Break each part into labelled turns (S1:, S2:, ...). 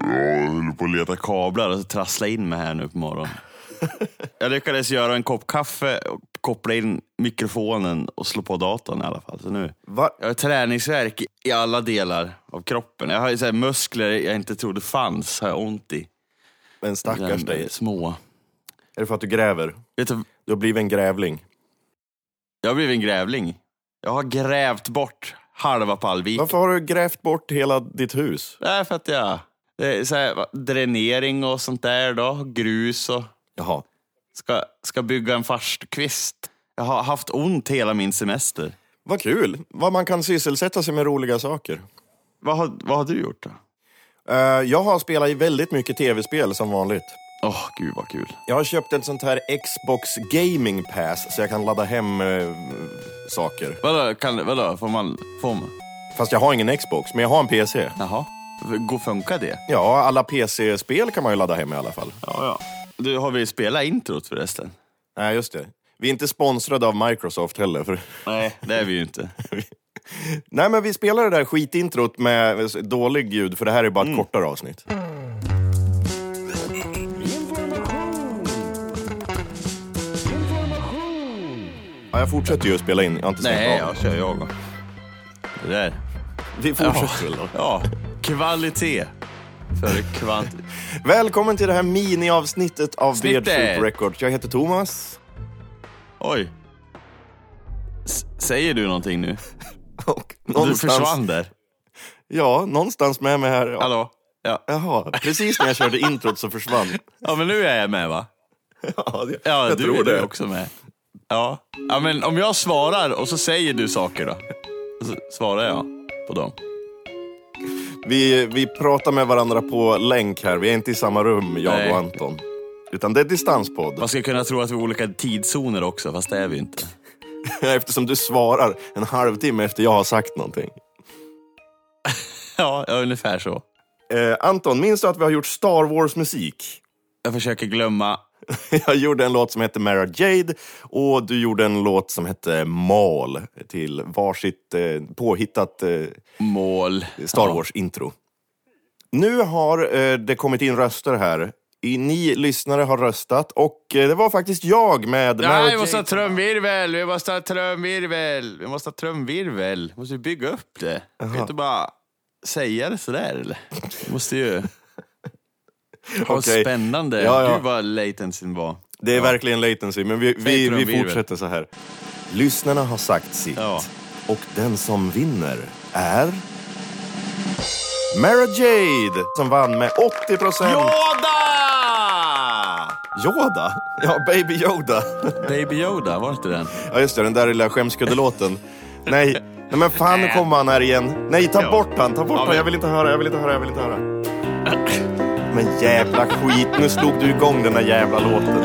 S1: håller på att leta kablar och trassla in mig här nu på morgonen. Jag lyckades göra en kopp kaffe, och koppla in mikrofonen och slå på datorn i alla fall. Så nu,
S2: Va?
S1: jag har träningsvärk i alla delar av kroppen. Jag har ju så här muskler jag inte trodde fanns, har jag ont i.
S2: Men stackars
S1: Den-
S2: dig.
S1: Små.
S2: Är det för att du gräver?
S1: Vet du,
S2: Du har blivit en grävling.
S1: jag har blivit en grävling. Jag har grävt bort halva Pallviken.
S2: Varför har du grävt bort hela ditt hus?
S1: Nej, för att jag... Det är så här, va, dränering och sånt där då, grus och...
S2: Jaha.
S1: Ska, ska bygga en farstukvist. Jag har haft ont hela min semester.
S2: Vad kul! Vad man kan sysselsätta sig med roliga saker.
S1: Vad har, vad har du gjort då?
S2: Eh, jag har spelat i väldigt mycket tv-spel som vanligt.
S1: Åh, gud vad kul.
S2: Jag har köpt ett sånt här Xbox Gaming Pass så jag kan ladda hem eh, saker.
S1: Vadå, kan, vadå får man... Får man?
S2: Fast jag har ingen Xbox, men jag har en PC.
S1: Jaha. Går funkar det?
S2: Ja, alla PC-spel kan man ju ladda hem i alla fall.
S1: Ja, ja. Du, har vi spelat introt förresten?
S2: Nej, just det. Vi är inte sponsrade av Microsoft heller. För...
S1: Nej, det är vi ju inte.
S2: Nej, men vi spelar det där skitintrot med dålig ljud, för det här är bara ett kortare avsnitt. Ja, jag fortsätter ju att spela in. Jag har inte
S1: Nej,
S2: stängt av.
S1: jag kör jag. då. Det där.
S2: Vi fortsätter väl då.
S1: Ja, kvalitet. För kvantitet.
S2: Välkommen till det här miniavsnittet av
S1: Snittet.
S2: Beardstreet Records. Jag heter Thomas.
S1: Oj. S- säger du någonting nu?
S2: Och
S1: Du försvann där.
S2: Ja, någonstans med mig här.
S1: Hallå? Ja.
S2: Jaha, precis när jag körde introt så försvann.
S1: ja, men nu är jag med va?
S2: Ja, det-
S1: Ja,
S2: jag
S1: du
S2: tror
S1: är du
S2: det.
S1: också med. Ja. ja, men om jag svarar och så säger du saker då? Så svarar jag på dem.
S2: Vi, vi pratar med varandra på länk här. Vi är inte i samma rum, jag
S1: Nej.
S2: och Anton. Utan det är distanspodd.
S1: Man ska kunna tro att vi är olika tidszoner också, fast det är vi inte.
S2: Eftersom du svarar en halvtimme efter jag har sagt någonting.
S1: Ja, ja, ungefär så.
S2: Eh, Anton, minns du att vi har gjort Star Wars-musik?
S1: Jag försöker glömma.
S2: Jag gjorde en låt som hette Mara Jade och du gjorde en låt som hette Mal till varsitt eh, påhittat eh,
S1: Mål.
S2: Star Wars-intro. Nu har eh, det kommit in röster här. I, ni lyssnare har röstat och eh, det var faktiskt jag med Mara
S1: Nej, vi
S2: Jade.
S1: måste ha trumvirvel! Vi måste ha trumvirvel! Vi måste ha trumvirvel! måste ju bygga upp det. Vi kan inte bara säga det sådär, eller? Vi måste ju... Vad
S2: Okej.
S1: spännande!
S2: Ja, ja.
S1: Gud vad latencyn var.
S2: Det är verkligen latency, men vi, vi,
S1: Later
S2: vi
S1: virvel.
S2: fortsätter så här. Lyssnarna har sagt sitt.
S1: Ja.
S2: Och den som vinner är... Mara Jade som vann med 80 procent.
S1: Yoda!
S2: Yoda? Ja, Baby Yoda.
S1: Baby Yoda, var det inte den?
S2: Ja, just det, den där lilla skämskuddelåten. Nej, nej men fan nu kommer han här igen. Nej, ta
S1: Ja.
S2: bort han, ta bort
S1: Ja,
S2: han.
S1: men-
S2: Jag vill inte höra, jag vill inte höra, jag vill inte höra. Men jävla skit, nu slog du igång den där jävla låten.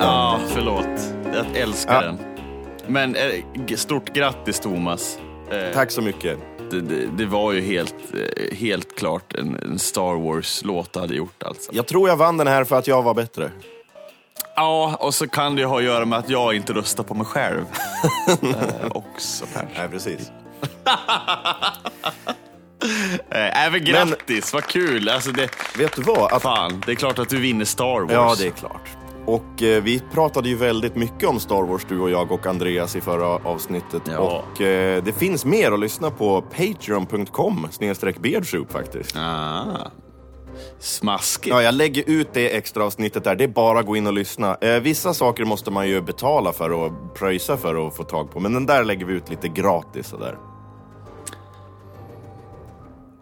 S1: Ja, förlåt. Jag älskar
S2: Ja.
S1: den. Men eh, g- stort grattis Thomas. Eh,
S2: Tack så mycket.
S1: Det, det, det var ju helt, eh, helt klart en, en Star Wars-låt du hade gjort alltså.
S2: Jag tror jag vann den här för att jag var bättre.
S1: Ja, och så kan det ju ha att göra med att jag inte röstar på mig själv. eh, också kanske.
S2: Nej, precis.
S1: Eh, även grattis, vad kul. Alltså det,
S2: Vet du vad? Att...
S1: fan, det är klart att du vinner Star Wars.
S2: Ja, det är klart. Och eh, vi pratade ju väldigt mycket om Star Wars, du och jag och Andreas i förra avsnittet.
S1: Ja.
S2: Och eh, det finns mer att lyssna på patreon.com snedstreck beardsoup faktiskt.
S1: Ah. Smaskigt.
S2: Ja, jag lägger ut det extra avsnittet där. Det är bara att gå in och lyssna. Eh, vissa saker måste man ju betala för och pröjsa för att få tag på. Men den där lägger vi ut lite gratis sådär.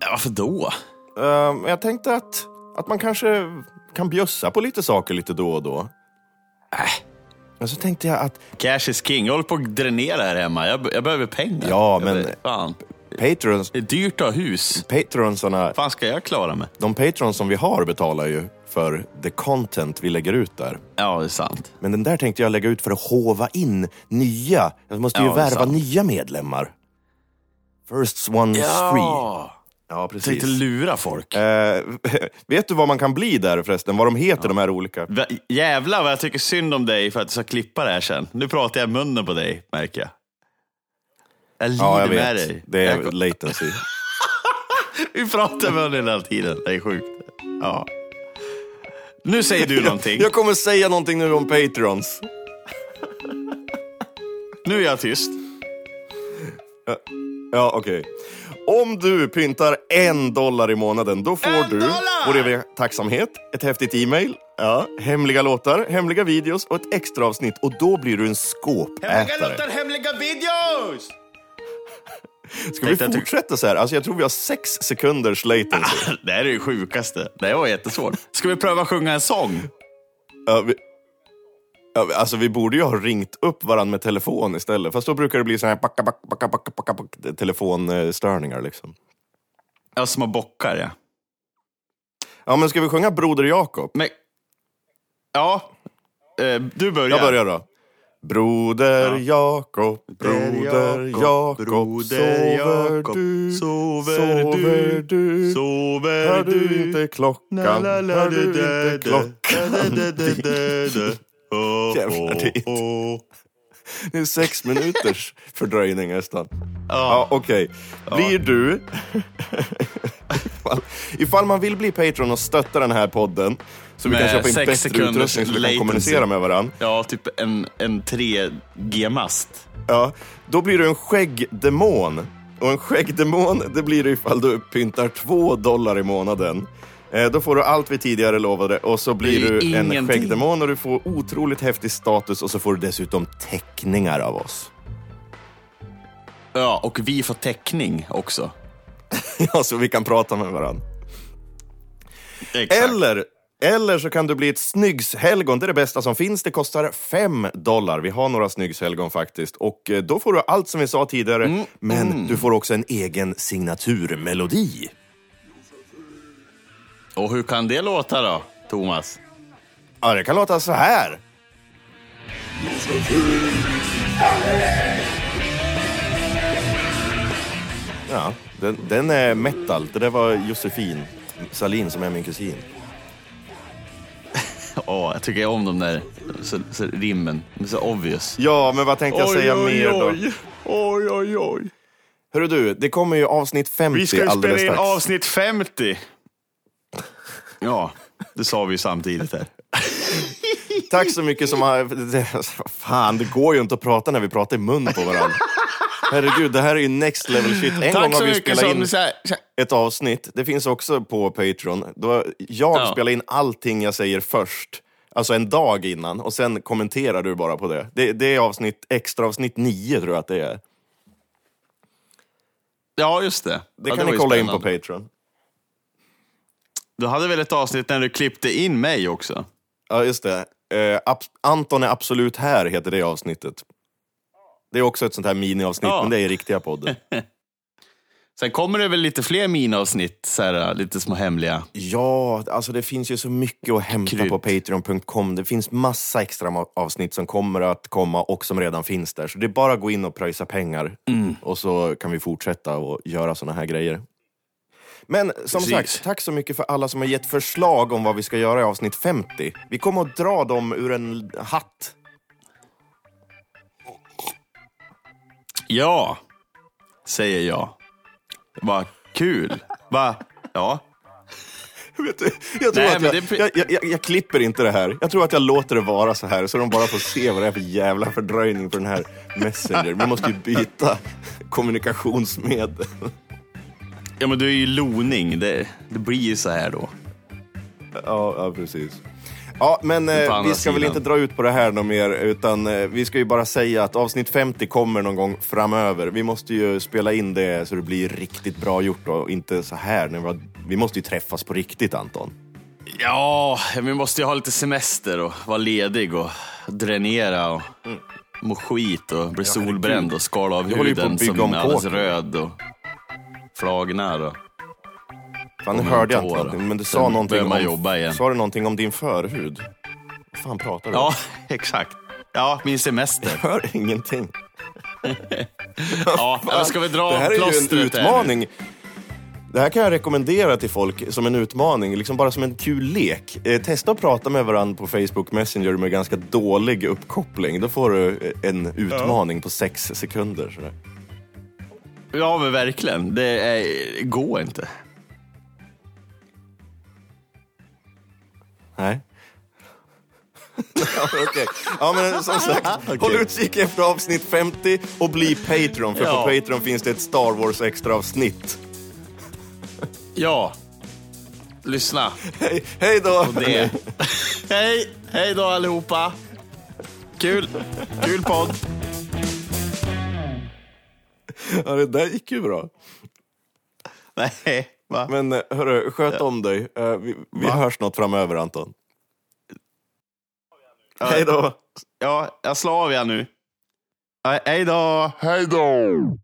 S1: Ja, Varför då?
S2: Eh, men jag tänkte att, att man kanske kan bjussa på lite saker lite då och då. Äh. Men så tänkte jag att
S1: Cash is king. Jag håller på att dränera här hemma. Jag, be- jag behöver pengar.
S2: Ja, men-
S1: Jag, be- fan.
S2: patrons,
S1: Det är dyrt att ha hus.
S2: patronsarna,
S1: fan ska jag klara mig?
S2: de patrons som vi har betalar ju för the content vi lägger ut där.
S1: Ja, det är sant.
S2: Men den där tänkte jag lägga ut för att håva in nya. Jag måste ju
S1: Ja, det är
S2: värva
S1: sant.
S2: nya medlemmar. First one's free. Ja,
S1: Tänkte lura folk.
S2: Eh, vet du vad man kan bli där förresten? Vad de heter, de här olika?
S1: Va- Jävlar vad jag tycker synd om dig för att du ska klippa det här sen. Nu pratar jag i munnen på dig, märker jag. Jag lider
S2: Ja, jag
S1: med
S2: vet.
S1: dig.
S2: Det är
S1: Jag-
S2: latency.
S1: Vi pratar med honom hela tiden. Det är sjukt. Ja. Nu säger du någonting.
S2: Jag kommer säga någonting nu om Patrons.
S1: Nu är jag tyst.
S2: Ja, okej. Om du pyntar en dollar i månaden, då får
S1: En
S2: du
S1: dollar!
S2: vår eviga tacksamhet, ett häftigt e-mail, ja, hemliga låtar, hemliga videos och ett extra avsnitt. Och då blir du en skåpätare.
S1: hemliga videos!
S2: Ska vi
S1: Tänkte Ah! att du-
S2: fortsätta så här? Alltså, jag tror vi har sex sekunders latency.
S1: Det här är det sjukaste. Det här var jättesvårt. Ska vi pröva att sjunga en sång?
S2: Ja, vi... Ja, vi- Alltså vi borde ju ha ringt upp varandra med telefon istället. Fast då brukar det bli så här backa, backa, backa, backa, backa, backa, telefonstörningar liksom.
S1: Ja, små bockar, ja.
S2: Ja men ska vi sjunga Broder Jakob?
S1: Men... Ja. Eh, Du börjar.
S2: Jag börjar då. Broder Jakob, broder Jakob,
S1: broder
S2: sover
S1: Jakob,
S2: du?
S1: sover du?
S2: sover du?
S1: Sover
S2: Hör du
S1: du?
S2: inte klockan?
S1: Na, la, la,
S2: Hör
S1: da,
S2: du
S1: da, da,
S2: inte klockan?
S1: da, da, da, da, da. Oh,
S2: Jävlar, det är inte-
S1: oh, oh.
S2: Det är sex minuters fördröjning nästan. Ja,
S1: Ja.
S2: okej. Blir du... ifall, ifall man vill bli Patreon och stötta den här podden så vi
S1: Med
S2: kan köpa in
S1: sex
S2: bättre
S1: sekunders
S2: utrustning så vi kan
S1: latency.
S2: kommunicera med varandra.
S1: Ja, typ en, en 3G-mast.
S2: Ja, då blir du en skäggdemon. Och en skäggdemon, det blir du ifall du pyntar två dollar i månaden. Eh, då får du allt vi tidigare lovade och så blir
S1: Det är
S2: du en
S1: ingenting.
S2: skäggdemon och du får otroligt häftig status och så får du dessutom teckningar av oss.
S1: Ja, och vi får täckning också.
S2: Ja, så vi kan prata med varandra.
S1: Exakt.
S2: Eller, eller så kan du bli ett snyggshelgon. Det är det bästa som finns. Det kostar 5 dollar. Vi har några snyggshelgon faktiskt. Och eh, då får du allt som vi sa tidigare.
S1: Mm.
S2: Men du får också en egen signaturmelodi.
S1: Och hur kan det låta då, Thomas?
S2: Ja, det kan låta så här. Ja, den, den är metal. Det där var Josefin Salin som är min kusin.
S1: Ja, jag tycker om de där så, så, rimmen. De är så obvious.
S2: Ja, men vad tänkte jag säga mer då?
S1: Oj, oj, oj.
S2: Hörru du, det kommer ju avsnitt 50
S1: Vi ska ju spela
S2: alldeles
S1: in
S2: strax.
S1: avsnitt 50. Ja, det sa vi ju samtidigt här.
S2: Tack så mycket som har... alltså, Fan, det går ju inte att prata när vi pratar i mun på varandra. Herregud, det här är ju next level shit. En gång
S1: Tack
S2: har
S1: så
S2: vi
S1: mycket
S2: spelat
S1: som...
S2: in
S1: Så här, så här.
S2: ett avsnitt. Det finns också på Patreon. Då jag
S1: Ja.
S2: spelar in allting jag säger först. Alltså en dag innan och sen kommenterar du bara på det. Det, det är avsnitt, extra avsnitt nio tror jag att det är.
S1: Ja, just det.
S2: Det
S1: ja,
S2: kan
S1: var
S2: ni
S1: ju
S2: kolla in på
S1: spännande.
S2: Patreon.
S1: Du hade väl ett avsnitt när du klippte in mig också?
S2: Ja, just det. Eh, abs- Anton är absolut här heter det avsnittet. Det är också ett sånt här miniavsnitt,
S1: Ja.
S2: men det är i riktiga podden.
S1: Sen kommer det väl lite fler minavsnitt, så här, lite små hemliga.
S2: Ja, alltså det finns ju så mycket att hämta
S1: Krydd.
S2: på Patreon.com. Det finns massa extra ma- avsnitt som kommer att komma och som redan finns där. Så det är bara att gå in och pröjsa pengar och så kan vi fortsätta och göra såna här grejer. Men som
S1: Precis.
S2: sagt, tack så mycket för alla som har gett förslag om vad vi ska göra i avsnitt 50. Vi kommer att dra dem ur en hatt.
S1: Ja, säger jag. Vad kul. Va? Ja.
S2: Vet du, Jag, tror
S1: Nej,
S2: att
S1: men
S2: jag,
S1: det-
S2: jag, jag, jag, jag klipper inte det här. Jag tror att jag låter det vara så här så de bara får se vad det är för jävla fördröjning på den här Messenger. Vi måste ju byta kommunikationsmedel.
S1: ja, men du är ju loning. Det, det blir ju så här då.
S2: Ja, ja precis. Ja, men eh,
S1: På andra
S2: vi ska väl
S1: sidan.
S2: inte dra ut på det här något mer, utan eh, vi ska ju bara säga att avsnitt 50 kommer någon gång framöver. Vi måste ju spela in det så det blir riktigt bra gjort och inte så här. När vi, har, vi måste ju träffas på riktigt, Anton.
S1: Ja, vi måste ju ha lite semester och vara ledig och dränera och må skit och bli solbränd och skala av
S2: Jag håller ju på att
S1: huden
S2: bygga
S1: som
S2: om
S1: är alldeles
S2: kåken.
S1: röd och flagnar. Och...
S2: Fan, nu
S1: Om
S2: hörde jag
S1: något
S2: inte
S1: år,
S2: någonting,
S1: då.
S2: men du
S1: Sen
S2: sa någonting,
S1: börjar man
S2: om,
S1: jobba igen.
S2: sa du någonting om din förhud. Vad fan pratar du om?
S1: Ja, exakt. Ja, min semester.
S2: Jag hör ingenting.
S1: Ja, men ska vi dra
S2: det här är ju en
S1: plåstret här nu?
S2: utmaning. Det här kan jag rekommendera till folk som en utmaning, liksom bara som en kul lek. Eh, testa att prata med varandra på Facebook Messenger med ganska dålig uppkoppling. Då får du eh, en utmaning på sex sekunder. Sådär.
S1: Ja, men verkligen. Det är, går inte.
S2: Nej. ja, men okej. Ja, men som sagt,
S1: Okej.
S2: håll utkik efter avsnitt 50 och bli Patreon, för
S1: Ja.
S2: på Patreon finns det ett Star Wars extra-avsnitt.
S1: Ja. Lyssna.
S2: Hej, hej då!
S1: Det. hej, hej då allihopa. Kul, kul podd.
S2: Ja, det där gick ju bra.
S1: Nej, va?
S2: Men eh, hörru, sköt om dig. Eh, Vi, vi hörs något framöver, Anton. Hej då!
S1: Ja, jag slår av er nu. Ja, Hej då. Hej då.